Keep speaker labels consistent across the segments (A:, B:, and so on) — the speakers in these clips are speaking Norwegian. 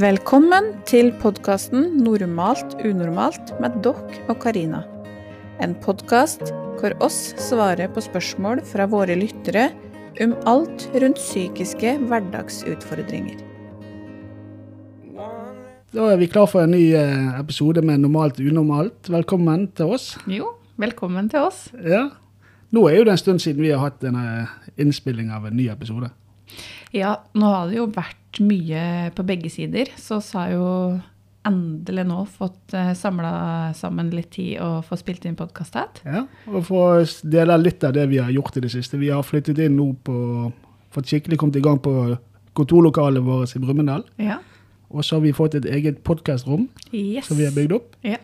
A: Velkommen til podkasten 'Normalt unormalt' med dere og Karina. En podkast hvor oss svarer på spørsmål fra våre lyttere om alt rundt psykiske hverdagsutfordringer.
B: Da er vi klar for en ny eh, episode med Normalt unormalt. Velkommen til oss.
C: Jo, velkommen til oss.
B: Ja. Nå er jo det en stund siden vi har hatt en eh, innspilling av en ny episode.
C: Ja, nå har det jo vært mye på begge sider, så så har jo endelig nå fått samla sammen litt tid og få spilt inn podkast her.
B: Ja. Og for å s- dele litt av det vi har gjort i det siste. Vi har flyttet inn nå på Fått skikkelig kommet i gang på kontorlokalet vårt i Brumunddal.
C: Ja.
B: Og så har vi fått et eget podkastrom
C: Yes.
B: som vi har bygd opp.
C: Ja.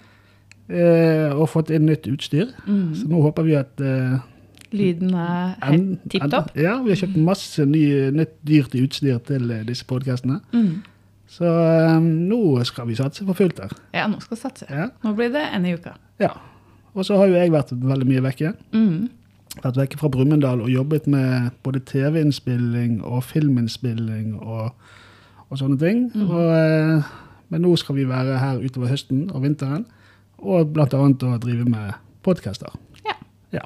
B: Eh, og fått inn nytt utstyr.
C: Mm.
B: Så nå håper vi at eh,
C: Lyden er
B: en-
C: helt tipp topp.
B: en- Ja, vi har kjøpt masse ny, nytt dyrt utstyr til eh, disse podkastene.
C: Mm.
B: Så eh, nå skal vi satse for fullt her.
C: Ja, nå skal vi satse.
B: Ja.
C: Nå blir det en i uka.
B: ja. Og så har jo jeg vært veldig mye vekke.
C: Mm.
B: Vært vekke fra Brumunddal og jobbet med både TV-innspilling og filminnspilling og, og sånne ting. Og, eh, men nå skal vi være her utover høsten og vinteren, og blant annet å drive med podcaster.
C: Ja.
B: Ja.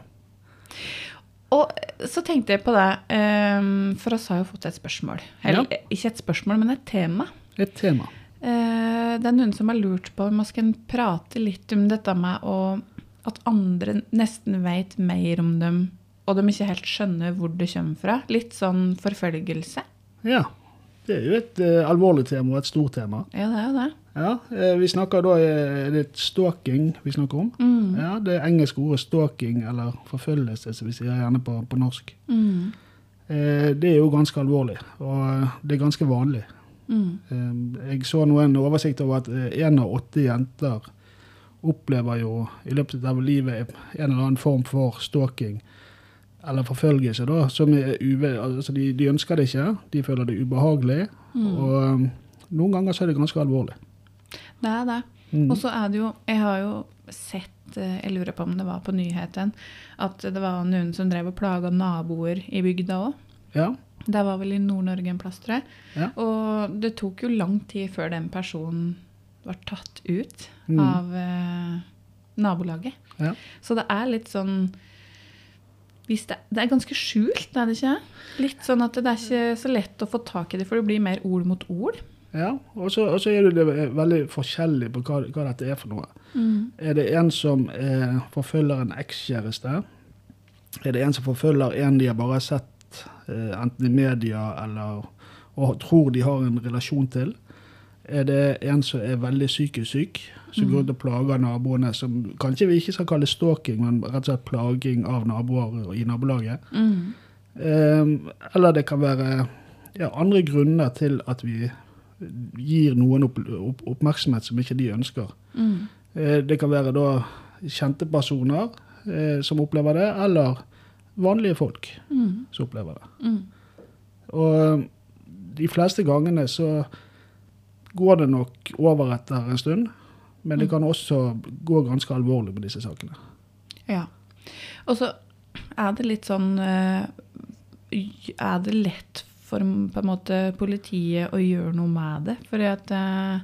C: Og eh, så tenkte jeg på det, ehm, for oss har jo fått et spørsmål. Eller eh, ikke et spørsmål, men et tema.
B: Et tema.
C: Eh, Det er noen som har lurt på om man skal prate litt om dette med å, at andre nesten vet mer om dem, og de ikke helt skjønner hvor det kommer fra. Litt sånn forfølgelse.
B: Ja. Det er jo et eh, alvorlig tema og et stort tema.
C: Ja, det er jo det.
B: Ja, eh, Vi snakker da eh, er det stalking vi snakker om.
C: Mm.
B: Ja, Det engelske ordet stalking, eller forfølgelse, som vi sier gjerne på, på norsk.
C: Mm.
B: Eh, Det er jo ganske alvorlig, og eh, det er ganske vanlig.
C: Mm.
B: Eh, Jeg så nå en oversikt over at én av åtte jenter opplever jo i løpet av livet en eller annen form for stalking. Eller forfølgelse, da. Som er uve, altså de, de ønsker det ikke, de føler det ubehagelig.
C: Mm.
B: Og eh, noen ganger så er det ganske alvorlig.
C: Det er det.
B: Mm.
C: Og så er det jo Jeg har jo sett eh, Jeg lurer på om det var på nyheten at det var noen som drev og plaga naboer i bygda òg.
B: Ja,
C: Det var vel i Nord-Norge en plass, tror jeg.
B: Ja.
C: Og det tok jo lang tid før den personen var tatt ut
B: Mm.
C: av eh, nabolaget.
B: ja.
C: Så det er litt sånn hvis det, det er ganske skjult, er det ikke? Litt sånn at det er ikke så lett å få tak i det, for det blir mer ord mot ord.
B: Ja, og så, og så er det det veldig forskjellig på hva, hva dette er for noe. Er det en som eh, forfølger en ekskjæreste? Er det en som forfølger en de har bare sett eh, enten i media eller og tror de har en relasjon til? Er det en som er veldig psykisk syk, som går rundt og plager naboene, som kanskje vi ikke skal kalle stalking, men rett og slett plaging av naboer og i nabolaget?
C: Mm.
B: Eh, eller det kan være ja, andre grunner til at vi gir noen opp, opp, oppmerksomhet som ikke de ønsker.
C: Mm.
B: Eh, det kan være da kjente personer eh, som opplever det, eller vanlige folk
C: Mm.
B: som opplever det. Og eh, de fleste gangene så går det nok over etter en stund, men det kan også gå ganske alvorlig med disse sakene.
C: Ja. Og så er det litt sånn eh, Er det lett for på en måte politiet å gjøre noe med det? Fordi at eh,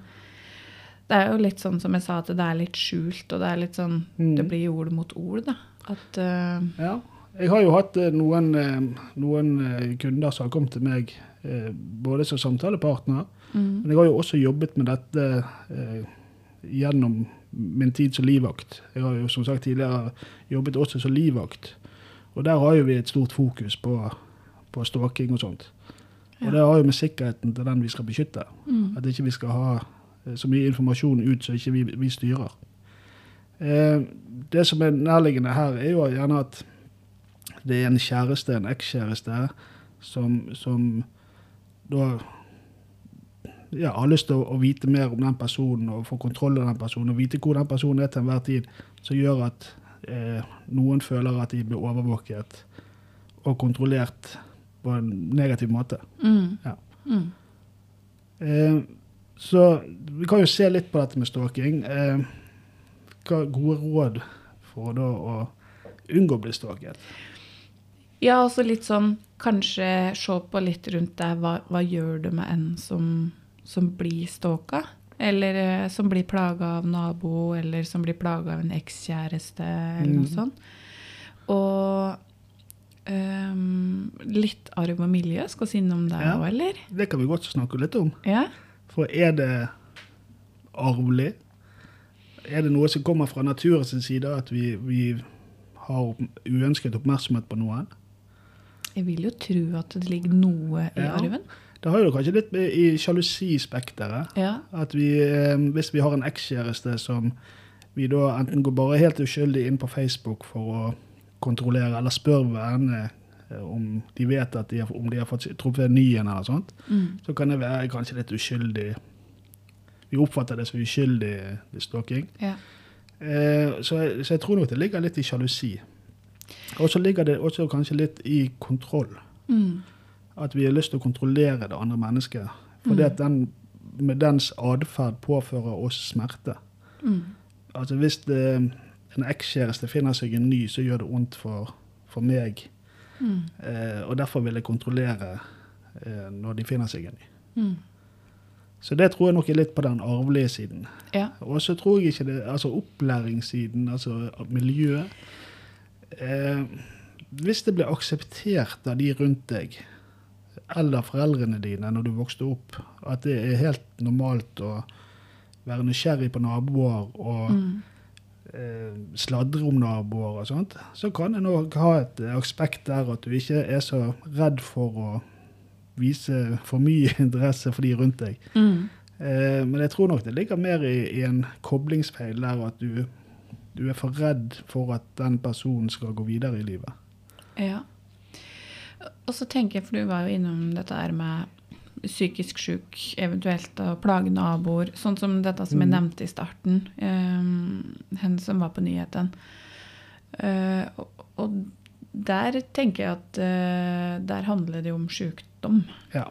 C: det er jo litt sånn som jeg sa, at det er litt skjult, og det er litt sånn
B: Mm.
C: Det blir ord mot ord, da. At eh,
B: Ja. Jeg har jo hatt eh, noen, eh, noen eh, kunder som har kommet til meg eh, både som samtalepartner,
C: Mm.
B: men jeg har jo også jobbet med dette eh, gjennom min tid som livvakt. Jeg har jo som sagt tidligere jobbet også som livvakt, og der har jo vi et stort fokus på, på stalking og sånt. Og det har jo med sikkerheten til den vi skal beskytte.
C: mm,
B: At ikke vi skal ha eh, så mye informasjon ut som ikke vi, vi styrer. Eh, det som er nærliggende her, er jo gjerne at det er en kjæreste, en ekskjæreste, som, som da ja, har lyst til å, å vite mer om den personen og få kontroll over den personen og vite hvor den personen er til enhver tid, som gjør at eh, noen føler at de blir overvåket og kontrollert på en negativ måte.
C: mm,
B: Ja.
C: mm,
B: Eh, så vi kan jo se litt på dette med stalking. Eh, hva gode råd for da å unngå å bli stalket?
C: Ja, altså og så litt sånn kanskje se på litt rundt deg. Hva, hva gjør det med en som, som blir stalka, eller eh, som blir plaga av nabo, eller som blir plaga av en ekskjæreste, eller
B: Mm.
C: noe sånt. Og ehm, litt arv og miljø skal vi innom deg
B: Ja.
C: òg, eller?
B: Det kan vi godt snakke litt om.
C: Ja.
B: For er det arvelig? Er det noe som kommer fra naturens side, at vi, vi har opp- uønsket oppmerksomhet på noen?
C: Jeg vil jo tro at det ligger noe i
B: Ja.
C: arven.
B: Det har jo kanskje litt med- i sjalusispekteret.
C: Ja.
B: At vi, eh, hvis vi har en ekskjæreste som vi da enten går bare helt uskyldig inn på Facebook for å kontrollere, eller spør vennene eh, om de vet at de har, om de har fått truffet en ny en eller sånt,
C: Mm.
B: så kan det være kanskje litt uskyldig. Vi oppfatter det som uskyldig eh, stalking.
C: ja.
B: Eh, så, jeg- så jeg tror nok det ligger litt i sjalusi. Og så ligger det også kanskje litt i kontroll.
C: Mm.
B: At vi har lyst til å kontrollere det andre mennesket. Fordi at den, med dens atferd påfører oss smerte.
C: Mm.
B: Altså hvis det, en ekskjæreste finner seg en ny, så gjør det vondt for, for meg.
C: Mm.
B: Eh, og derfor vil jeg kontrollere eh, når de finner seg en ny.
C: Mm.
B: Så det tror jeg nok er litt på den arvelige siden.
C: Ja.
B: Og så tror jeg ikke det Altså opplæringssiden, altså miljø eh, Hvis det ble akseptert av de rundt deg, eller foreldrene dine når du vokste opp, at det er helt normalt å være nysgjerrig på naboer og
C: Mm.
B: eh, sladre om naboer og sånt, så kan en òg ha et eh, aspekt der at du ikke er så redd for å vise for mye interesse for de rundt deg.
C: Mm.
B: Eh, men jeg tror nok det ligger mer i, i en koblingsfeil der at du, du er for redd for at den personen skal gå videre i livet.
C: Ja. Og så tenker jeg, for du var jo innom dette her med psykisk syk, eventuelt å plage naboer, sånn som dette
B: Mm.
C: som jeg nevnte i starten, eh, hen som var på nyheten. Eh, og, og der tenker jeg at eh, der handler det jo om sykdom.
B: Ja.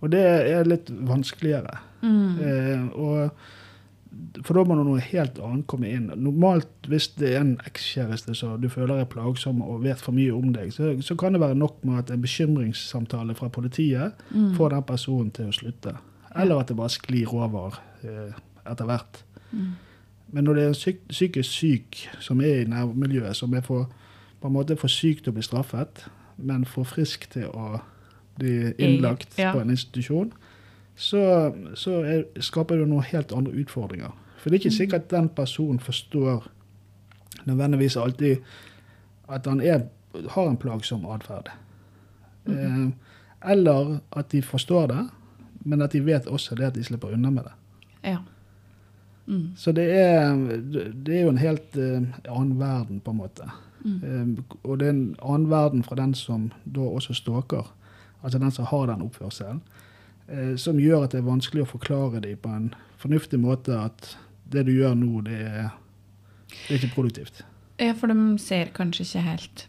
B: Og det er litt vanskeligere.
C: Mm.
B: Eh, og, for da må noe helt annet komme inn. Normalt hvis det er en ekskjæreste som du føler er plagsom og vet for mye om deg, så, så kan det være nok med at en bekymringssamtale fra politiet
C: Mm.
B: får den personen til å slutte. Eller at det bare sklir over eh, etter hvert.
C: Mm.
B: Men når det er en syk, psykisk syk som er i nærmiljøet, som er for, på en måte for syk til å bli straffet, men for frisk til å bli innlagt
C: Ja.
B: på en institusjon, så, så er, skaper det noen helt andre utfordringer. For det er ikke sikkert at den personen forstår nødvendigvis alltid at han er, har en plagsom atferd. eh, eller at de forstår det, men at de vet også det at de slipper unna med det.
C: Ja. Mm.
B: Så det er, det er jo en helt eh, annen verden, på en måte.
C: Mm.
B: Eh, og det er en annen verden fra den som da også stalker, altså den som har den oppførselen, eh, som gjør at det er vanskelig å forklare dem på en fornuftig måte at det du gjør nå, det er, det er ikke produktivt.
C: ja, for de ser kanskje ikke helt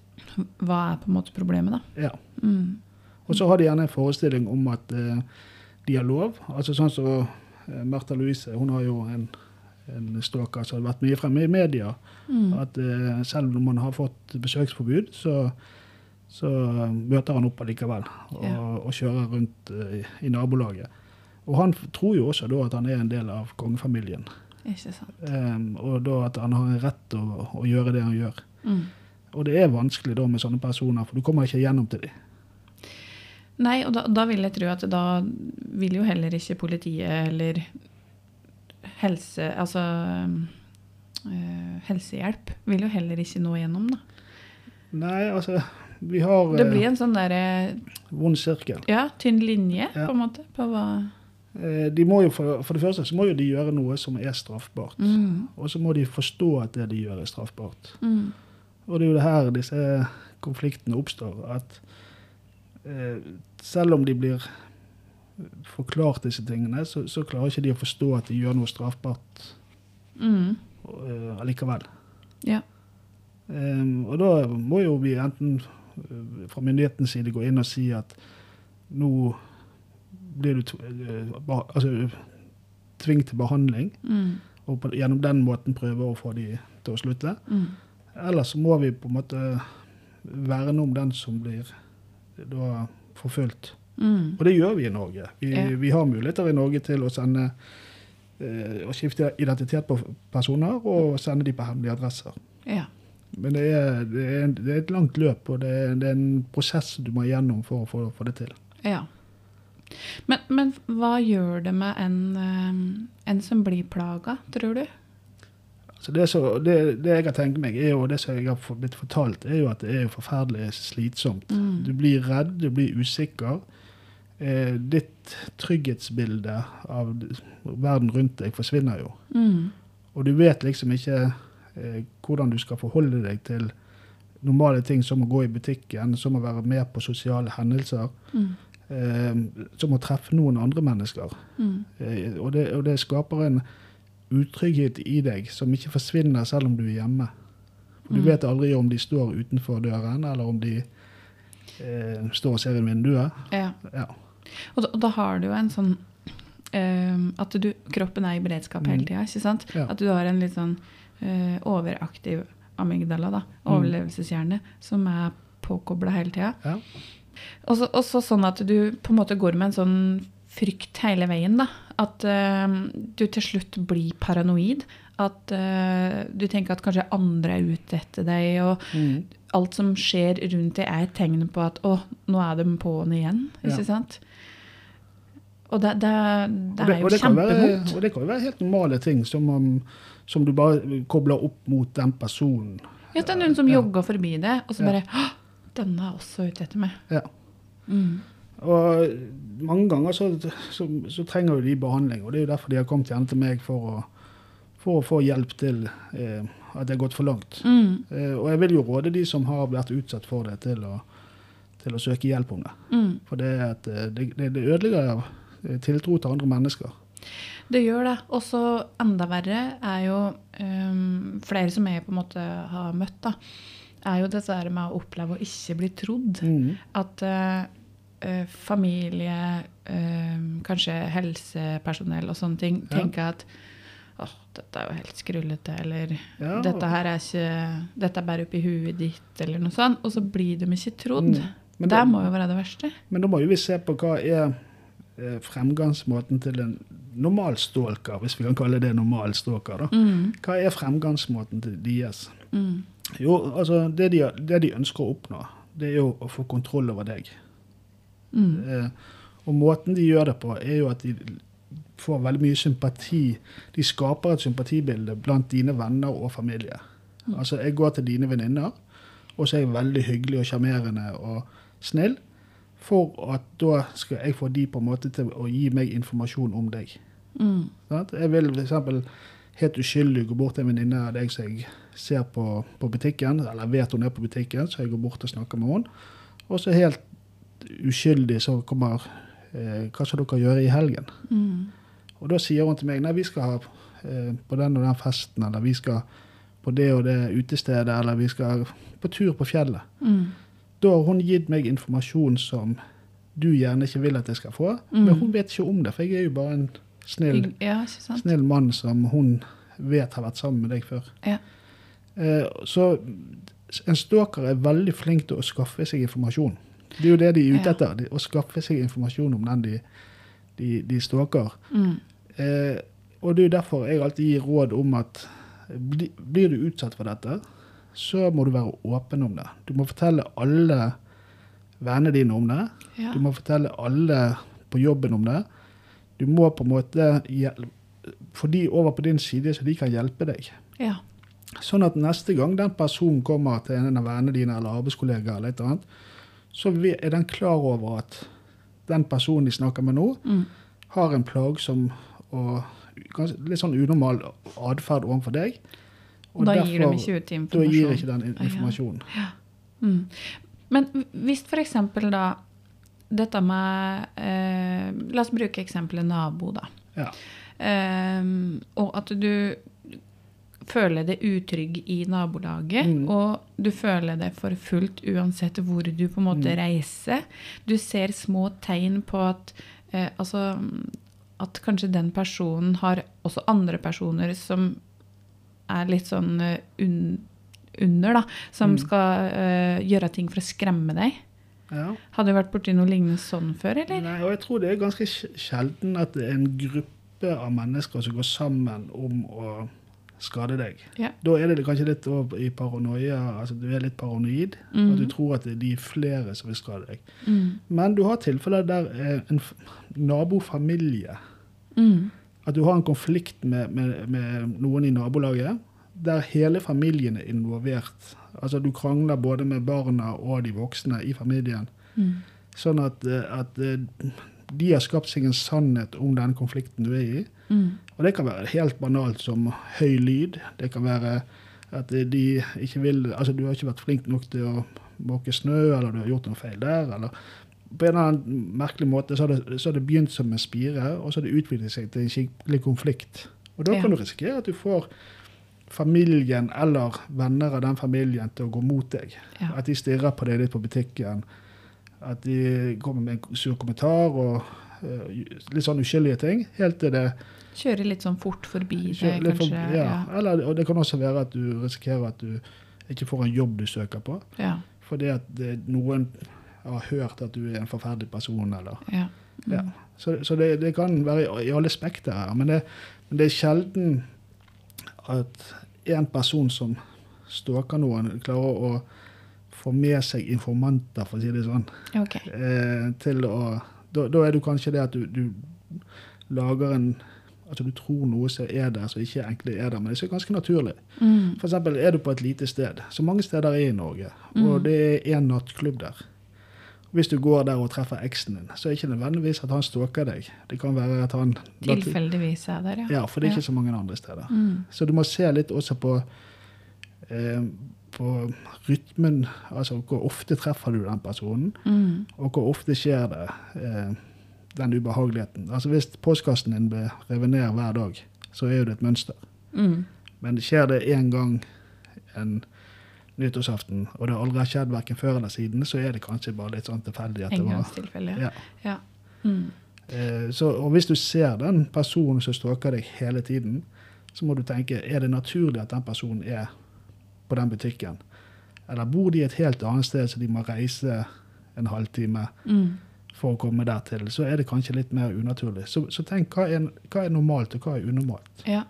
C: hva er på en måte problemet, da.
B: Ja.
C: Mm.
B: Og så har de gjerne en forestilling om at eh, de har lov. Altså sånn som eh, Märtha Louise, hun har jo en, en stalker som har vært mye fremme i media.
C: Mm.
B: At eh, selv om han har fått besøksforbud, så, så eh, møter han opp allikevel og,
C: Ja.
B: og kjører rundt eh, i nabolaget. Og han f- tror jo også da at han er en del av kongefamilien,
C: Ikke sant.
B: Em, og da at han har en rett til å, å gjøre det han gjør.
C: Mm.
B: Og det er vanskelig da med sånne personer, for du kommer ikke gjennom til dem.
C: Nei, og da, da vil jeg tro at da vil jo heller ikke politiet eller helse Altså øh, helsehjelp vil jo heller ikke nå gjennom, da.
B: Nei, altså, vi har
C: Det
B: eh,
C: blir en sånn derre
B: vond sirkel.
C: ja, tynn linje,
B: Ja.
C: på en måte, på hva
B: Eh, De må jo for, for det første så må jo de gjøre noe som er straffbart.
C: mm,
B: Og så må de forstå at det de gjør, er straffbart.
C: mm,
B: Og det er jo det her disse konfliktene oppstår. At eh, selv om de blir forklart disse tingene, så, så klarer ikke de å forstå at de gjør noe straffbart
C: mm,
B: eh, allikevel.
C: Ja.
B: Eh, og da må jo vi enten eh, fra myndighetens side gå inn og si at nå blir du tv eh, ba- altså, tvingt til behandling,
C: mm,
B: og på, gjennom den måten prøve å få de til å slutte.
C: mm,
B: Ellers så må vi på en måte verne om den som blir da forfulgt.
C: Mm.
B: Og det gjør vi i Norge. Vi,
C: Ja.
B: vi har muligheter i Norge til å sende eh, å skifte identitet på personer og sende de på hemmelige adresser.
C: Ja.
B: Men det er, det er, en- det er et langt løp, og det er, det er en prosess du må igjennom for å få få det til.
C: ja. Men, men hva gjør det med en, eh, en som blir plaga, tror du?
B: Så det, så, det, det jeg har tenkt meg, er jo, og det som jeg har fått- blitt fortalt, er jo at det er jo forferdelig slitsomt. Du blir redd, du blir usikker. Eh, ditt trygghetsbilde av d- verden rundt deg forsvinner jo.
C: Mm.
B: Og du vet liksom ikke eh, hvordan du skal forholde deg til normale ting som å gå i butikken, som å være med på sosiale hendelser,
C: Mm.
B: eh, som å treffe noen andre mennesker.
C: Mm.
B: Eh, og, det, og det skaper en utrygghet i deg som ikke forsvinner selv om du er hjemme. For du
C: Mm.
B: vet aldri om de står utenfor døren, eller om de eh, står og ser inn vinduet.
C: Ja.
B: Ja.
C: Og da, og da har du jo en sånn eh, At du, kroppen er i beredskap hele
B: Mm.
C: tida. Ikke sant?
B: Ja.
C: At du har en litt sånn eh, overaktiv amygdala, da,
B: Mm.
C: overlevelseshjerne, som er påkobla hele tida.
B: Ja.
C: Og så- og så sånn at du på en måte går med en sånn frykt hele veien, da. At eh, du til slutt blir paranoid. At eh, du tenker at kanskje andre er ute etter deg, og alt som skjer rundt deg, er et tegn på at å, nå er de på'n igjen. Ikke
B: Ja.
C: sant? Og det, det, det er jo
B: kan være,
C: kjempevondt.
B: og det kan jo være helt normale ting, som, om, som du bare kobler opp mot den personen.
C: Ja, det er noen som
B: Ja.
C: jogger forbi det, og så
B: Ja.
C: bare «Hå, Denne er også ute etter meg.
B: Ja.
C: Mm.
B: Og mange ganger så, så, så trenger jo de behandling, og det er jo derfor de har kommet igjen til meg for å, for å få hjelp til eh, at det har gått for langt.
C: Mm.
B: Eh, og jeg vil jo råde de som har vært utsatt for det, til å, til å søke hjelp om det.
C: Mm.
B: For det, er at, eh, det, det, det ødelegger eh, tiltro til andre mennesker.
C: Det gjør det. Og så enda verre er jo øhm, flere som jeg på en måte har møtt, da, er jo dette her med å oppleve å ikke bli trodd.
B: Mm.
C: At øh, øh, familie, øhm, kanskje helsepersonell og sånne ting
B: Ja.
C: tenker at åh, dette er jo helt skrullete, eller
B: Ja.
C: dette her er ikke Dette er bare oppi huet ditt, eller noe sånt. Og så blir de ikke trodd.
B: Mm. Men
C: det
B: det-
C: må jo være det verste.
B: Men da må jo vi se på hva er eh, fremgangsmåten til en normal stalker, hvis vi kan kalle det normal stalker. Da.
C: Mm.
B: Hva er fremgangsmåten til deres?
C: Mm.
B: Jo, altså det de, det de ønsker å oppnå, det er jo å få kontroll over deg.
C: Mm.
B: Eh, og måten de gjør det på, er jo at de får veldig mye sympati. De skaper et sympatibilde blant dine venner og familie. Altså, jeg går til dine venninner, og så er jeg veldig hyggelig og sjarmerende og snill. For at da skal jeg få de på en måte til å gi meg informasjon om deg.
C: Mm.
B: Sant? Jeg vil f.eks. helt uskyldig gå bort til en venninne av deg som jeg ser på, på butikken, eller vet hun er på butikken, så jeg går bort og snakker med henne. Og så helt uskyldig så kommer eh, Hva skal dere gjøre i helgen?
C: Mm.
B: Og da sier hun til meg nei, vi skal ha eh, på den og den festen, eller vi skal på det og det utestedet, eller vi skal på tur på fjellet.
C: Mm.
B: Da har hun gitt meg informasjon som du gjerne ikke vil at jeg skal få, men
C: Mm.
B: hun vet ikke om det, for jeg er jo bare en snill
C: Ja, ikke sant?
B: snill mann som hun vet har vært sammen med deg før.
C: Ja.
B: Eh, så en stalker er veldig flink til å skaffe seg informasjon. Det er jo det de er ute
C: Ja.
B: etter. de- Å skaffe seg informasjon om den de, de, de stalker.
C: Mm.
B: Eh, og det er jo derfor jeg alltid gir råd om at bli, blir du utsatt for dette, så må du være åpen om det. Du må fortelle alle vennene dine om det.
C: Ja.
B: Du må fortelle alle på jobben om det. Du må på en måte hjel- få de over på din side, så de kan hjelpe deg.
C: ja.
B: Sånn at neste gang den personen kommer til en av vennene dine eller arbeidskollegaer, eller et eller annet, så vi- er den klar over at den personen de snakker med nå,
C: Mm.
B: har en plagsom og ganske, litt sånn unormal atferd overfor deg.
C: Og da gir de ikke ut
B: da
C: informasjon. Ah,
B: gir ikke den in-
C: Ja.
B: informasjonen.
C: Mm. Men hvis f.eks. da dette med eh, La oss bruke eksempelet nabo, da.
B: Ja.
C: Eh, og at du føler deg utrygg i nabolaget,
B: Mm.
C: og du føler deg forfulgt uansett hvor du på en måte reiser. Du ser små tegn på at eh, altså, at kanskje den personen har også andre personer som er litt sånn eh, un under, da. Som skal eh, gjøre ting for å skremme deg.
B: Ja.
C: Hadde du vært borti noe lignende sånn før, eller?
B: Nei, og jeg tror det er ganske sj- sjelden at det er en gruppe av mennesker som går sammen om å skade deg.
C: Ja.
B: Da er det kanskje litt over i paranoia, altså du er litt paranoid,
C: Mhm.
B: og du tror at det er de flere som vil skade deg.
C: Mm.
B: Men du har tilfeller der eh, en f- nabofamilie
C: Mm.
B: At du har en konflikt med, med, med noen i nabolaget der hele familien er involvert. Altså Du krangler både med barna og de voksne i familien.
C: Mm.
B: Sånn at, eh, at eh, de har skapt seg en sannhet om den konflikten du er i.
C: Mm.
B: Og det kan være helt banalt som høy lyd. Det kan være at de ikke vil Altså, du har ikke vært flink nok til å måke snø, eller du har gjort noe feil der, eller På en eller annen merkelig måte så har det, så har det begynt som en spire, og så har det utviklet seg til en skikkelig konflikt. Og da
C: Ja.
B: kan du risikere at du får familien eller venner av den familien til å gå mot deg.
C: Ja.
B: At de stirrer på deg litt på butikken. At de kommer med en sur kommentar og eh, litt sånn uskyldige ting. Helt til det
C: Kjøre litt sånn fort forbi det,
B: Kjø- litt for-
C: kanskje.
B: ja. Eller, og det kan også være at du risikerer at du ikke får en jobb du søker på,
C: Ja. Ja.
B: fordi at det, noen har hørt at du er en forferdelig person. Eller.
C: Ja. Mm.
B: Ja. Så, så det, det kan være i, i alle spekter her, men det, men det er sjelden at en person som stalker noen, klarer å få med seg informanter, for å si det sånn
C: Ok.
B: eh, til å da, da er du kanskje det at du, du lager en Altså du tror noe som er der, som ikke egentlig er der, men det er ganske naturlig.
C: Mm.
B: For eksempel er du på et lite sted, som mange steder er i Norge, og det er én nattklubb der. Hvis du går der og treffer eksen din, så er det ikke nødvendigvis at han stalker deg. Det kan være at han
C: Tilfeldigvis er jeg der, ja.
B: Ja, for det er ikke så mange andre steder.
C: Mm.
B: Så du må se litt også på, eh, på rytmen. Altså hvor ofte treffer du den personen?
C: Mm.
B: Og hvor ofte skjer det, eh, den ubehageligheten? Altså Hvis postkassen din blir revet ned hver dag, så er jo det et mønster.
C: Mm.
B: Men skjer det én gang en nyttårsaften, og det aldri har skjedd verken før eller siden, så er det kanskje bare litt sånn tilfeldig at det var
C: Engangstilfelle.
B: ja.
C: Ja. Mm.
B: Eh, så, og hvis du ser den personen som stalker deg hele tiden, så må du tenke er det naturlig at den personen er på den butikken. Eller bor de et helt annet sted, så de må reise en halvtime
C: Mm.
B: for å komme der til, så er det kanskje litt mer unaturlig. Så, så tenk hva er, hva er normalt, og hva er unormalt?
C: Ja.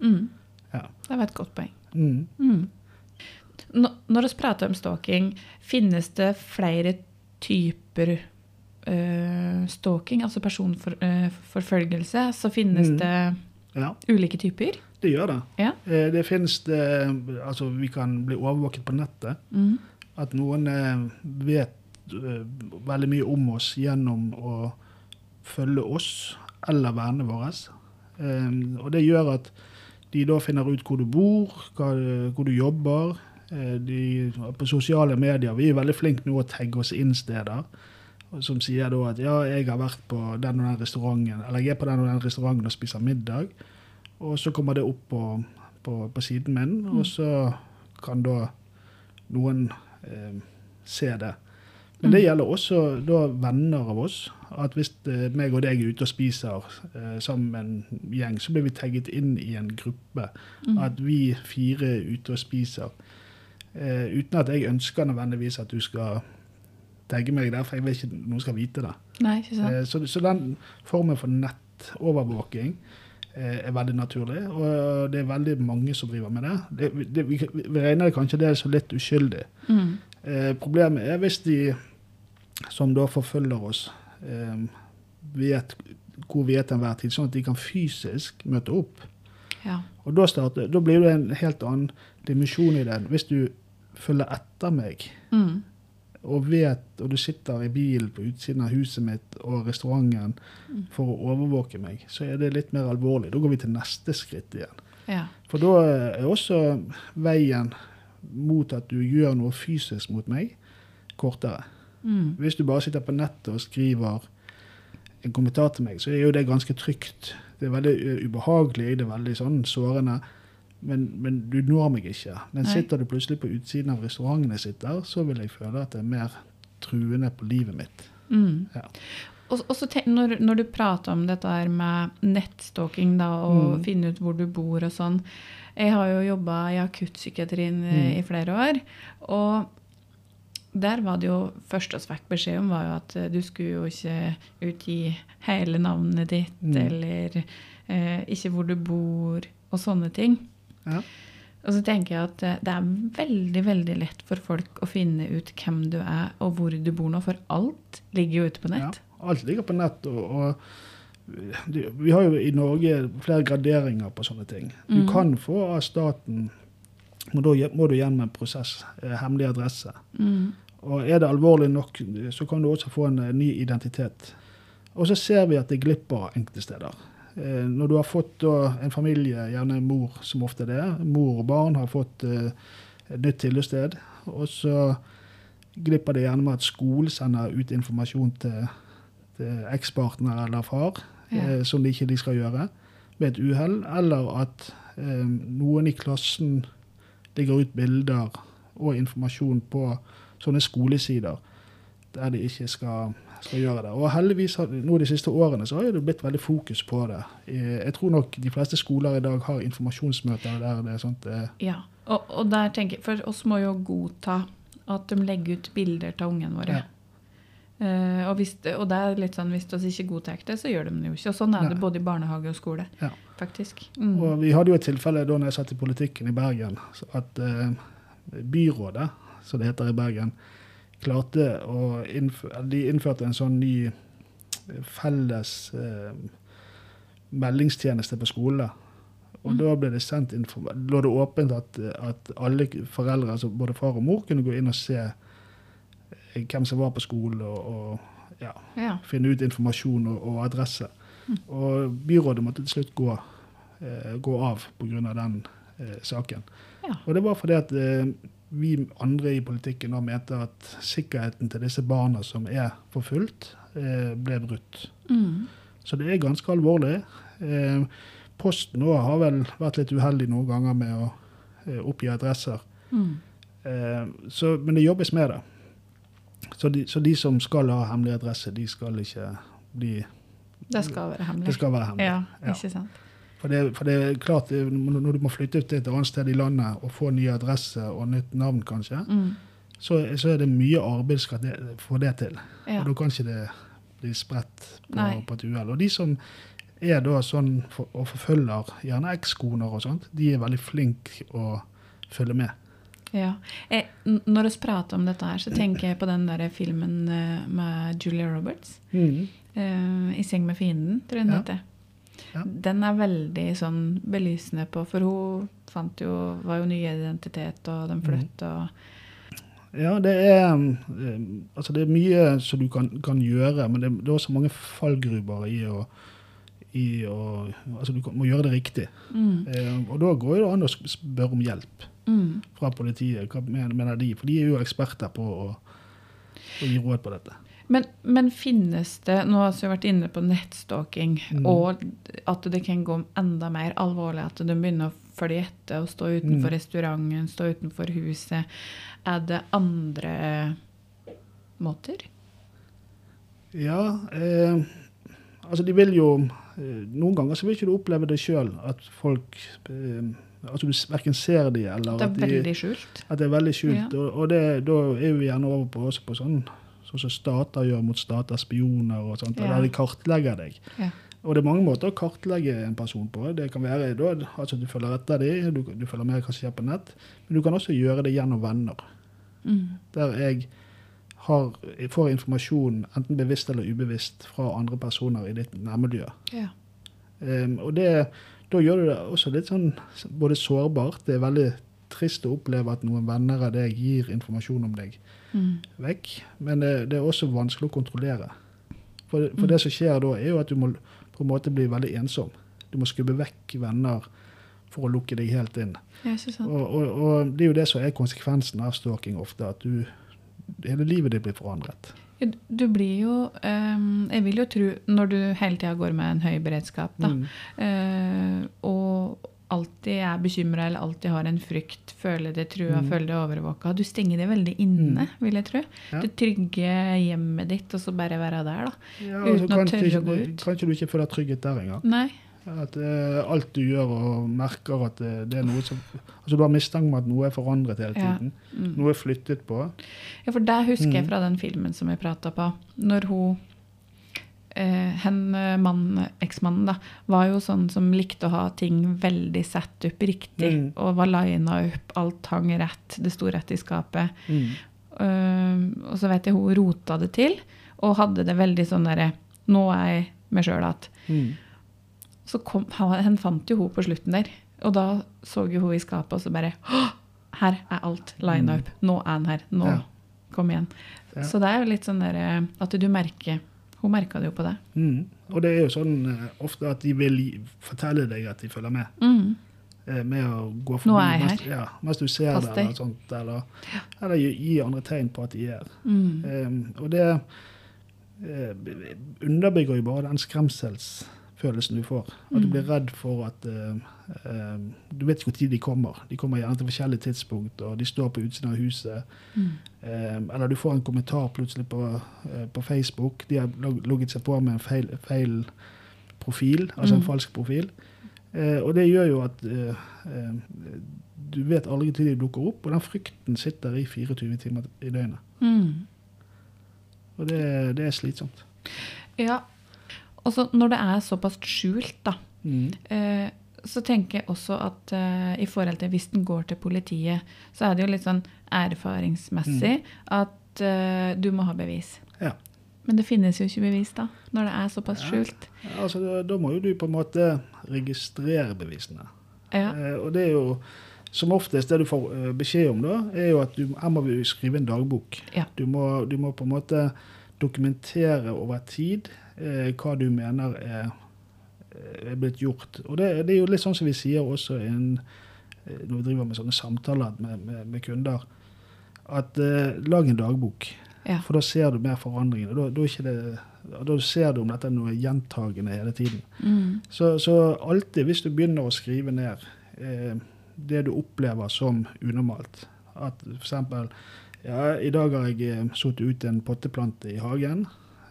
C: Mm.
B: Ja.
C: Det var et godt poeng.
B: Mm.
C: Mm. Nå- Når vi prater om stalking, finnes det flere typer eh, stalking, altså personforfølgelse? så finnes
B: Mm.
C: det
B: Ja,
C: ulike typer?
B: det gjør det.
C: Ja.
B: Eh, Det finnes det Altså, vi kan bli overvåket på nettet.
C: Mm.
B: At noen eh, vet eh, veldig mye om oss gjennom å følge oss eller vennene våre. Eh, og det gjør at de da finner ut hvor du bor, hva, hvor du jobber. Eh, de, på sosiale medier vi er veldig flinke nå å tagge oss inn steder. og Som sier da at ja, jeg har vært på den og den restauranten, eller jeg er på den og den restauranten og spiser middag. Og så kommer det opp på, på, på siden min, og så kan da noen eh, se det. Men det gjelder også da venner av oss. At hvis eh, meg og deg er ute og spiser eh, sammen med en gjeng, så blir vi tagget inn i en gruppe.
C: Mm.
B: At vi fire er ute og spiser. Eh, uten at jeg ønsker nødvendigvis at du skal tagge meg der, for jeg vil ikke at noen skal vite det.
C: Nei, ikke sant?
B: Eh, Så, så den formen for nettovervåking eh, er veldig naturlig, og det er veldig mange som driver med det. det, det vi, vi regner det kanskje det er så litt uskyldig.
C: Mm.
B: Eh, problemet er hvis de som da forfølger oss, eh, vet hvor vi er til enhver tid, sånn at de kan fysisk møte opp.
C: Ja.
B: Og da, starter, da blir det en helt annen dimensjon i den. Hvis du følger etter meg
C: Mm.
B: og vet, og du sitter i bilen på utsiden av huset mitt og restauranten for å overvåke meg, så er det litt mer alvorlig. Da går vi til neste skritt igjen.
C: ja.
B: For da eh, er også veien mot at du gjør noe fysisk mot meg, kortere.
C: Mm.
B: Hvis du bare sitter på nettet og skriver en kommentar til meg, så er jo det ganske trygt. Det er veldig ø, ubehagelig, det er veldig sånn sårende, men, men du når meg ikke. Men
C: Nei.
B: sitter du plutselig på utsiden av restauranten jeg sitter, så vil jeg føle at det er mer truende på livet mitt.
C: Mm.
B: Ja.
C: Og, og så tenk, når, når du prater om dette her med nettstalking da, og finne ut hvor du bor og sånn Jeg har jo jobba i akuttpsykiatrien eh, i flere år. Og der var det jo først oss fikk beskjed om, var jo at eh, du skulle jo ikke utgi hele navnet ditt, eller eh, ikke hvor du bor, og sånne ting.
B: Ja.
C: Og så tenker jeg at eh, det er veldig, veldig lett for folk å finne ut hvem du er, og hvor du bor nå, for alt ligger jo ute på nett.
B: Ja, alt ligger på nett. Og, og det- vi har jo i Norge flere graderinger på sånne ting. Du kan få av staten Men da gje- må du gjennom en prosess. eh, Hemmelig adresse. Mm. Og er det alvorlig nok, så kan du også få en eh, ny identitet. Og så ser vi at det glipper enkelte steder. Eh, Når du har fått da, en familie, gjerne mor som ofte det er, mor og barn har fått eh, et nytt tilholdssted, og så glipper det gjerne med at skolen sender ut informasjon til til ekspartner eller far,
C: Ja.
B: eh, som de ikke de skal gjøre, ved et uhell, eller at eh, noen i klassen legger ut bilder og informasjon på sånne skolesider der de ikke skal, skal gjøre det. Og heldigvis, har, nå de siste årene, så har jo det blitt veldig fokus på det. Eh, Jeg tror nok de fleste skoler i dag har informasjonsmøter der det er sånt eh,
C: Ja, og, og der tenker jeg, for oss må jo godta at de legger ut bilder til ungene våre.
B: Ja.
C: Eh, og, hvis, og det er litt sånn, hvis vi ikke godtar det, så gjør de det jo ikke. Og sånn er
B: Nei.
C: det både i barnehage og skole,
B: Ja.
C: faktisk. Mm.
B: Og vi hadde jo et tilfelle da når jeg satt i politikken i Bergen, så at eh, byrådet, som det heter i Bergen, klarte å innføre, eller de innførte en sånn ny eh, felles eh, meldingstjeneste på skolene. Og da ble det sendt inform- lå det åpent at, at alle foreldre, altså både far og mor, kunne gå inn og se eh, hvem som var på skolen, og, og ja,
C: Ja.
B: finne ut informasjon og, og adresse. Og byrådet måtte til slutt gå, eh, gå av pga. den eh, saken.
C: Ja.
B: Og det var fordi at eh, vi andre i politikken nå mente at sikkerheten til disse barna som er forfulgt, eh, ble brutt.
C: Mm.
B: Så det er ganske alvorlig. Eh, Posten nå har vel vært litt uheldig noen ganger med å eh, oppgi adresser.
C: Mm.
B: Eh, så, men det jobbes med det. Så de, så de som skal ha hemmelig adresse, de skal ikke bli
C: Det skal være hemmelig.
B: Det skal være hemmelig.
C: Ja,
B: Ja.
C: ikke sant.
B: For, det, for det er klart, det- når når du må flytte ut til et annet sted i landet og få ny adresse og nytt navn, kanskje,
C: Mm.
B: så, så er det mye arbeid skal det, få det til.
C: Ja.
B: Og da kan ikke det bli spredt på,
C: Nei.
B: på et uhell. Og de som er da sånn for, og forfølger gjerne ekskoner og sånt, de er veldig flinke å følge med.
C: Ja. Eh, n- når vi prater om dette her, så tenker jeg på den der filmen eh, med Julia Roberts. eh, I seng med fienden, tror jeg den
B: Ja.
C: heter.
B: Ja.
C: Den er veldig sånn belysende på, for hun fant jo, var jo ny identitet, og
B: Mm.
C: den flytta og
B: Ja, det er, um, altså det er mye som du kan, kan gjøre, men det, det er også mange fallgruber i å, i å Altså, du kan, må gjøre det riktig.
C: mm,
B: Eh, og da går det an å sp- spørre om hjelp
C: mm.
B: fra politiet. Hva men- mener de? For de er jo eksperter på å, å gi råd på dette.
C: Men, men finnes det Nå har vi vært inne på nettstalking,
B: Mm.
C: og at det kan gå enda mer alvorlig. At de begynner å følge etter og stå utenfor
B: Mm.
C: restauranten, stå utenfor huset. Er det andre måter?
B: Ja, eh, altså de vil jo eh, Noen ganger så vil ikke du oppleve det sjøl, at folk eh, Altså du s- verken ser de eller
C: Det er
B: at de
C: veldig skjult.
B: At det er veldig skjult.
C: Ja.
B: Og, og det, da er vi gjerne over på, også på sånn sånn som stater gjør mot stater, spioner og sånt. og
C: Ja.
B: Der de kartlegger deg.
C: Ja.
B: Og det er mange måter å kartlegge en person på. Det kan være da, altså Du følger etter dem, du, du følger med hva som skjer på nett. Men du kan også gjøre det gjennom venner.
C: Mm.
B: Der jeg har, jeg får informasjon, enten bevisst eller ubevisst, fra andre personer i ditt nærmiljø.
C: ja.
B: Ehm, og det, da gjør du det også litt sånn både sårbart. Det er veldig trist å oppleve at noen venner av deg gir informasjon om deg
C: Mm.
B: vekk. Men det, det er også vanskelig å kontrollere. For,
C: Mm.
B: for det som skjer da, er jo at du må på en måte bli veldig ensom. Du må skubbe vekk venner for å lukke deg helt inn.
C: ja, ikke sant.
B: Og, og, og det er jo det som er konsekvensen av stalking ofte, at du Hele livet ditt blir forandret.
C: Ja, du- Du blir jo ehm, Jeg vil jo tro, når du hele tida går med en høy beredskap, da,
B: Mm.
C: eh, og alltid er bekymra eller alltid har en frykt, føler deg trua,
B: Mm.
C: føler deg overvåka Du stenger deg veldig inne, vil jeg tro.
B: Ja.
C: Det trygge hjemmet ditt, og så bare være der, da.
B: Ja,
C: Uten
B: og så
C: å tørre
B: kanskje
C: å
B: ikke-
C: gå ut.
B: Kanskje du ikke føler trygghet der engang.
C: Nei.
B: At eh, alt du gjør og merker at det, det er noe som Altså du har mistanke om at noe er forandret hele
C: Ja.
B: tiden.
C: Mm.
B: Noe er flyttet på.
C: Ja, for det husker jeg
B: Mm.
C: fra den filmen som vi prata på. Når hun eh, hen, eh, mann, Eksmannen da, var jo sånn som likte å ha ting veldig satt opp riktig.
B: Mm.
C: Og var lina opp, alt hang rett, det sto rett i skapet.
B: Mm.
C: Eh, og så vet jeg hun rota det til, og hadde det veldig sånn derre Nå er jeg meg sjøl igjen.
B: Mm.
C: Så kom, hen fant jo hun på slutten der. Og da så jo hun i skapet, og så bare «Hå! Her er alt lina opp. Nå er han her. Nå.
B: Mm. Ja.
C: Kom igjen.
B: Ja.
C: Så det er jo litt sånn der eh, at du merker Hun merka det jo på det.
B: Mm. Og det er jo sånn eh, ofte at de vil gi- fortelle deg at de følger med.
C: Mm.
B: eh, Med å gå forbi
C: Nå er jeg
B: mens, ja, mens du ser
C: Pass
B: det,
C: deg.
B: eller sånt. Eller, eller gi, gi andre tegn på at de er
C: Mm.
B: Ehm, og det eh, underbygger jo bare den skremselsfølelsen du får. At
C: Mm.
B: du blir redd for at eh, eh, Du vet ikke når de kommer. De kommer gjerne til forskjellige tidspunkt, og de står på utsiden av huset.
C: Mm.
B: Ehm, eller du får en kommentar plutselig på, eh, på Facebook. De har log- logget seg på med en feil, feil profil, altså en falsk profil. Eh, og det gjør jo at eh, eh, du vet aldri til de dukker opp, og den frykten sitter i 24 timer i døgnet.
C: Mm.
B: Og det, det er slitsomt.
C: Ja. Og så når det er såpass skjult, da, eh, så tenker jeg også at eh, i forhold til hvis den går til politiet, så er det jo litt sånn erfaringsmessig at eh, du må ha bevis.
B: Mm. Ja.
C: Men det finnes jo ikke bevis da, når det er såpass
B: Ja.
C: skjult.
B: Altså, da, da må jo du på en måte registrere bevisene.
C: Ja.
B: Eh, og det er jo som oftest det du får eh, beskjed om, da, er jo at du, her må vi jo skrive en dagbok.
C: Ja.
B: Du, må, du må på en måte dokumentere over tid eh, hva du mener er, eh, er blitt gjort. Og det, det er jo litt sånn som vi sier også innen, eh, når vi driver med sånne samtaler med, med, med kunder, at eh, lag en dagbok.
C: Ja.
B: For da ser du mer forandringene. Da, da, er ikke det, da ser du om dette er noe gjentagende hele tiden.
C: Mm.
B: Så, så alltid hvis du begynner å skrive ned eh, det du opplever som unormalt, at f.eks. Ja, i dag har jeg eh, satt ut en potteplante i hagen.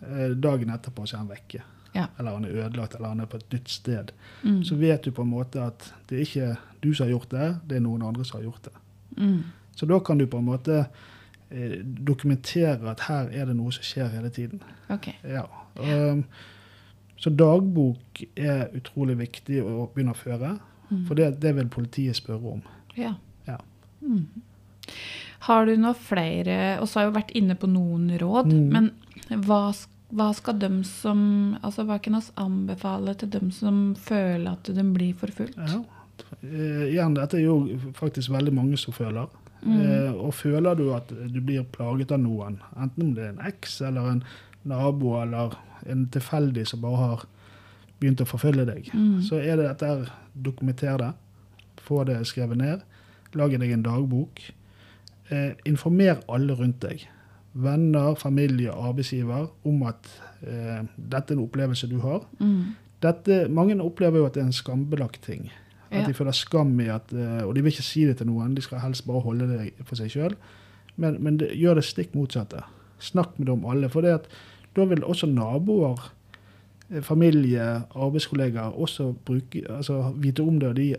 B: Eh, dagen etterpå så er han vekke.
C: Ja.
B: Eller han er ødelagt, eller han er på et nytt sted.
C: Mm.
B: Så vet du på en måte at det er ikke du som har gjort det, det er noen andre som har gjort det.
C: Mm.
B: Så da kan du på en måte eh, dokumentere at her er det noe som skjer hele tiden.
C: Ok.
B: Ja. ehm, så dagbok er utrolig viktig å begynne å føre.
C: Mm.
B: For det, det vil politiet spørre om.
C: Ja.
B: Ja.
C: Mm. Har du noe flere Og så har jeg jo vært inne på noen råd,
B: Mm.
C: men hva, s- hva skal dem som Altså hva kan oss anbefale til dem som føler at de blir forfulgt?
B: Ja. Eh, igjen, dette er jo faktisk veldig mange som føler.
C: Mm.
B: Eh, og føler du at du blir plaget av noen, enten om det er en eks eller en nabo eller en tilfeldig som bare har begynt å forfølge deg,
C: Mm.
B: så er det dette her, dokumenter det. Få det skrevet ned. Lag deg en dagbok. Eh, informer alle rundt deg. Venner, familie, arbeidsgiver om at eh, dette er en opplevelse du har.
C: Mm.
B: Dette, mange opplever jo at det er en skambelagt ting. At
C: Ja.
B: de føler skam i at eh, Og de vil ikke si det til noen, de skal helst bare holde det for seg sjøl. Men, men det, gjør det stikk motsatte. Snakk med dem alle. For det at, da vil også naboer, eh, familie, arbeidskollegaer også bruke, altså, vite om det. Og de,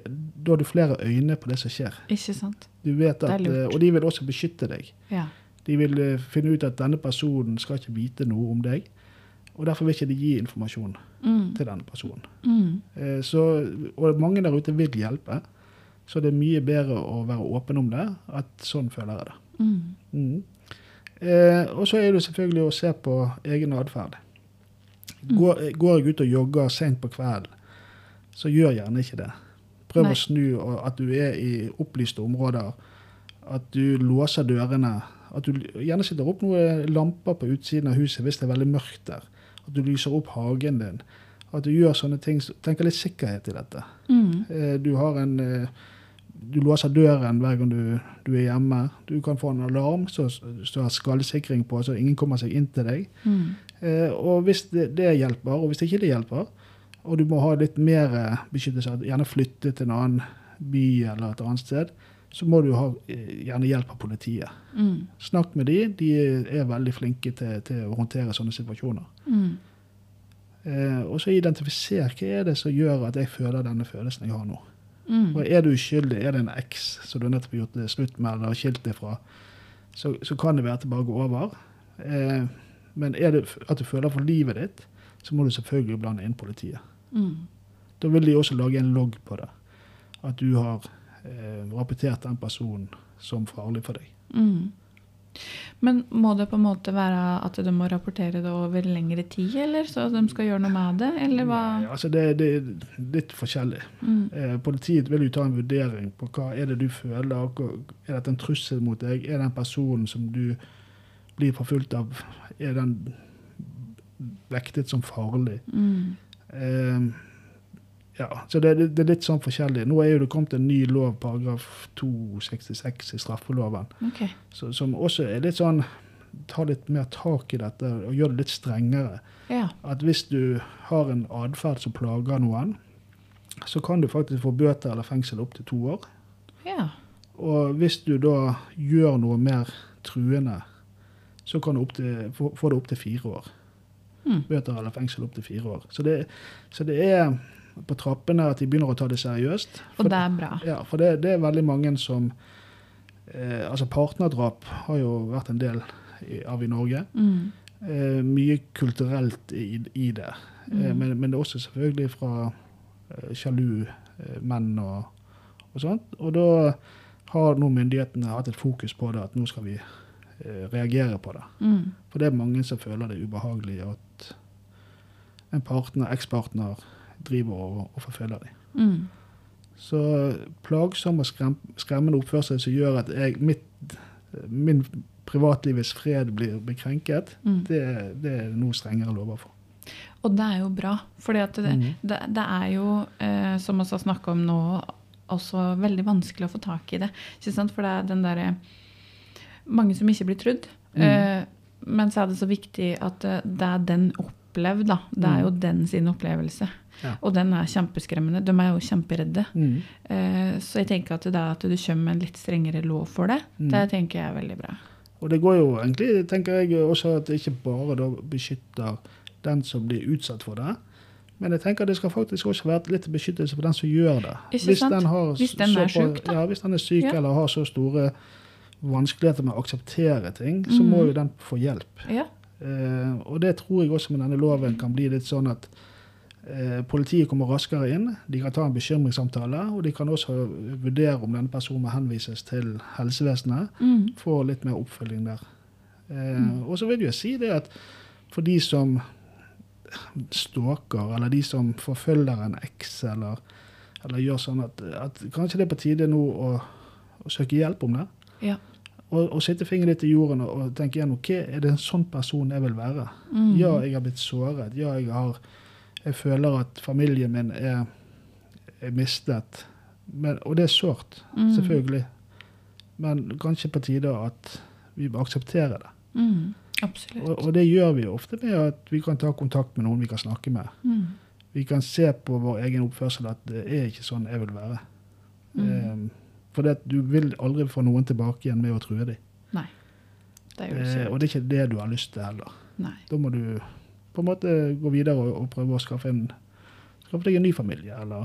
B: da har du flere øyne på det som skjer.
C: Ikke sant?
B: Du vet
C: er
B: at, eh,
C: lurt.
B: og de vil også beskytte deg.
C: Ja.
B: De vil eh, finne ut at denne personen skal ikke vite noe om deg. Og derfor vil ikke de gi informasjon
C: Mm.
B: til denne personen.
C: Mm.
B: Eh, Så, og mange der ute vil hjelpe, så det er mye bedre å være åpen om det. At sånn føler jeg det.
C: Mm.
B: Mm. Eh, og så er det jo selvfølgelig å se på egen atferd. Går, eh, går jeg ut og jogger sent på kvelden, så gjør gjerne ikke det. Prøv
C: Nei.
B: å snu, og at du er i opplyste områder. At du låser dørene. At du gjerne setter opp noen lamper på utsiden av huset hvis det er veldig mørkt der. At du lyser opp hagen din. At du gjør sånne ting. så- Tenker litt sikkerhet i dette.
C: Mm.
B: Eh, Du har en eh, Du låser døren hver gang du, du er hjemme. Du kan få en alarm som har skallsikring på, så ingen kommer seg inn til deg.
C: Mm.
B: Eh, Og hvis det, det hjelper, og hvis ikke det hjelper, og du må ha litt mer eh, beskyttelse, at gjerne flytte til en annen by eller et annet sted, så må du ha eh, gjerne hjelp av politiet.
C: Mm.
B: Snakk med de, de er veldig flinke til, til å håndtere sånne situasjoner.
C: Mm.
B: Eh, og så identifisere hva er det som gjør at jeg føler denne følelsen jeg har nå.
C: Mm.
B: Og er du uskyldig, er det en eks som du nettopp har gjort det slutt med eller har skilt deg fra, så, så kan det være at det bare går over. Eh, men er det at du føler for livet ditt, så må du selvfølgelig blande inn politiet.
C: Mm.
B: Da vil de også lage en logg på det. At du har eh, rapportert den personen som farlig for deg.
C: Mm. Men må det på en måte være at de må rapportere det over lengre tid, eller så de skal gjøre noe med det, eller hva?
B: Nei, altså det, det er litt forskjellig.
C: Mm.
B: Eh, politiet vil jo ta en vurdering på hva er det du føler. og hva- Er dette en trussel mot deg? Er den personen som du blir forfulgt av, er den vektet som farlig?
C: Mm.
B: Eh, ja, så det, det, det er litt sånn forskjellig. Nå er jo det kommet en ny lov, paragraf 266 i straffeloven,
C: Ok.
B: så, som også er litt sånn Tar litt mer tak i dette og gjør det litt strengere.
C: Ja.
B: At hvis du har en atferd som plager noen, så kan du faktisk få bøter eller fengsel opptil to år.
C: ja.
B: Og hvis du da gjør noe mer truende, så kan du opp til, få, få det opptil fire år.
C: Mm.
B: Bøter eller fengsel opptil fire år. Så det, så det er på trappene at de begynner å ta det seriøst.
C: Og det er bra.
B: Ja, for det, det er veldig mange som eh, Altså, partnerdrap har jo vært en del i, av i Norge.
C: Mm.
B: Eh, mye kulturelt i, i det. Eh,
C: Mm.
B: men, men det er også selvfølgelig fra eh, sjalu eh, menn og, og sånt. Og da har nå myndighetene hatt et fokus på det, at nå skal vi eh, reagere på det.
C: Mm.
B: For det er mange som føler det ubehagelig at en partner, ekspartner, driver og, og forfølger dem.
C: Mm.
B: Så eh, plagsom og skrem, skremmende oppførsel som gjør at jeg, mitt, eh, min privatlivets fred blir bekrenket,
C: Mm.
B: det, det er det noe strengere lover for.
C: Og det er jo bra, for det,
B: Mhm.
C: det, det er jo, eh, som vi har snakket om nå, også veldig vanskelig å få tak i det. Ikke sant? For det er den derre Mange som ikke blir trudd.
B: Mm.
C: Eh, men så er det så viktig at eh, det er den opplevd, da. Det er jo den sin opplevelse.
B: Mm. Ja.
C: Og den er kjempeskremmende. De er jo kjemperedde.
B: Mm.
C: Eh, så jeg tenker at det er at du kommer med en litt strengere lov for det,
B: Mm.
C: det tenker jeg er veldig bra.
B: Og det går jo egentlig, tenker jeg også, at det ikke bare da beskytter den som blir utsatt for det. Men jeg tenker det skal faktisk også være litt beskyttelse for den som gjør det.
C: Ikke sant?
B: har
C: Hvis den er
B: såpa-
C: syk, da.
B: Ja, hvis den er syk
C: Ja.
B: eller har så store vanskeligheter med å akseptere ting, så
C: Mm.
B: må jo den få hjelp.
C: Ja.
B: Eh, og det tror jeg også med denne loven kan bli litt sånn at eh, politiet kommer raskere inn. De kan ta en bekymringssamtale, og de kan også vurdere om denne personen må henvises til helsevesenet.
C: Mm.
B: Få litt mer oppfølging der. Eh, Og så vil jeg si det at for de som stalker, eller de som forfølger en eks, eller, eller gjør sånn at, at kanskje det er på tide nå å, å søke hjelp om det.
C: Ja.
B: Og, og sitte fingeren litt i jorden og, og tenke igjen ok, er det en sånn person jeg vil være?
C: Mm.
B: Ja, jeg har blitt såret. Ja, jeg har Jeg føler at familien min er, er mistet. Men, og det er sårt,
C: Mm.
B: selvfølgelig. Men kanskje på tide at vi må akseptere det.
C: Mm. Absolutt.
B: Og, og det gjør vi ofte med at vi kan ta kontakt med noen vi kan snakke med.
C: Mm.
B: Vi kan se på vår egen oppførsel at det er ikke sånn jeg vil være. Eh,
C: Mm.
B: for du vil aldri få noen tilbake igjen med å true dem.
C: Nei. Det er jo
B: Eh, og det er ikke det du har lyst til heller.
C: Nei.
B: Da må du på en måte gå videre og, og prøve å skaffe, en, skaffe deg en ny familie eller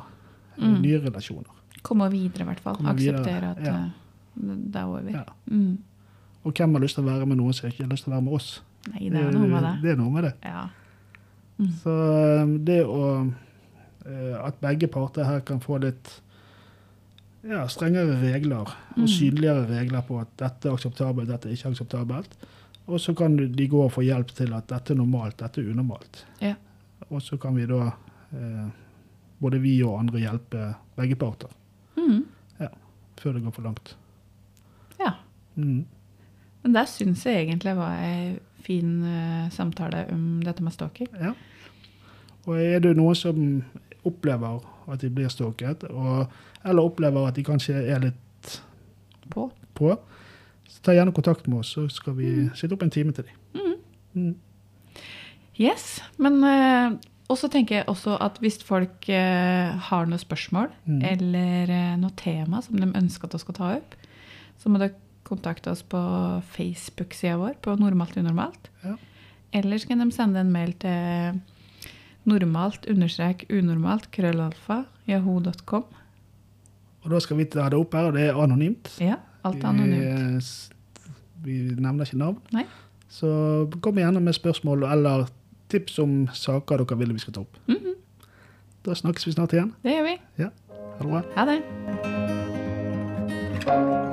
B: eh,
C: Mm.
B: nye relasjoner.
C: Komme videre, i hvert fall.
B: Komme videre,
C: Akseptere at
B: ja.
C: eh, det det er over.
B: Ja.
C: Mm.
B: Og hvem har lyst til å være med noen som ikke har lyst til å være med oss? Eh,
C: Nei, det er noe med det.
B: Det er noe med det.
C: Ja.
B: Så eh, det å eh, At begge parter her kan få litt ja, strengere regler og synligere regler på at dette er akseptabelt, dette er ikke akseptabelt. Og så kan du- de gå og få hjelp til at dette er normalt, dette er unormalt.
C: Ja.
B: Og så kan vi da, eh, både vi og andre, hjelpe begge parter
C: Mm.
B: før det går for langt.
C: ja.
B: Mm.
C: Men det syns jeg egentlig var ei fin eh, samtale om dette med stalking.
B: Ja. Og er det noen som opplever at de blir stalket, og, eller opplever at de kanskje er litt
C: På.
B: på, så ta gjerne kontakt med oss, så skal vi
C: Mm.
B: sitte opp en time til dem. Mm.
C: Yes. Men eh, også tenker jeg også at hvis folk eh, har noen spørsmål
B: Mm.
C: eller eh, noe tema som de ønsker at vi skal ta opp, så må dere kontakte oss på Facebook-sida vår på Normalt unormalt.
B: Ja.
C: Eller så kan de sende en mail til normalt understrek unormalt krøllalfa yahoo.com.
B: Og da skal vi ta det opp her, og det er anonymt.
C: Ja, alt er anonymt.
B: Vi, eh, s- Vi nevner ikke navn.
C: Nei.
B: Så kom gjerne med spørsmål eller tips om saker dere vil vi skal ta opp.
C: Mhm.
B: Da snakkes vi snart igjen.
C: Det gjør vi.
B: Ja, ha det bra.
C: Ha det.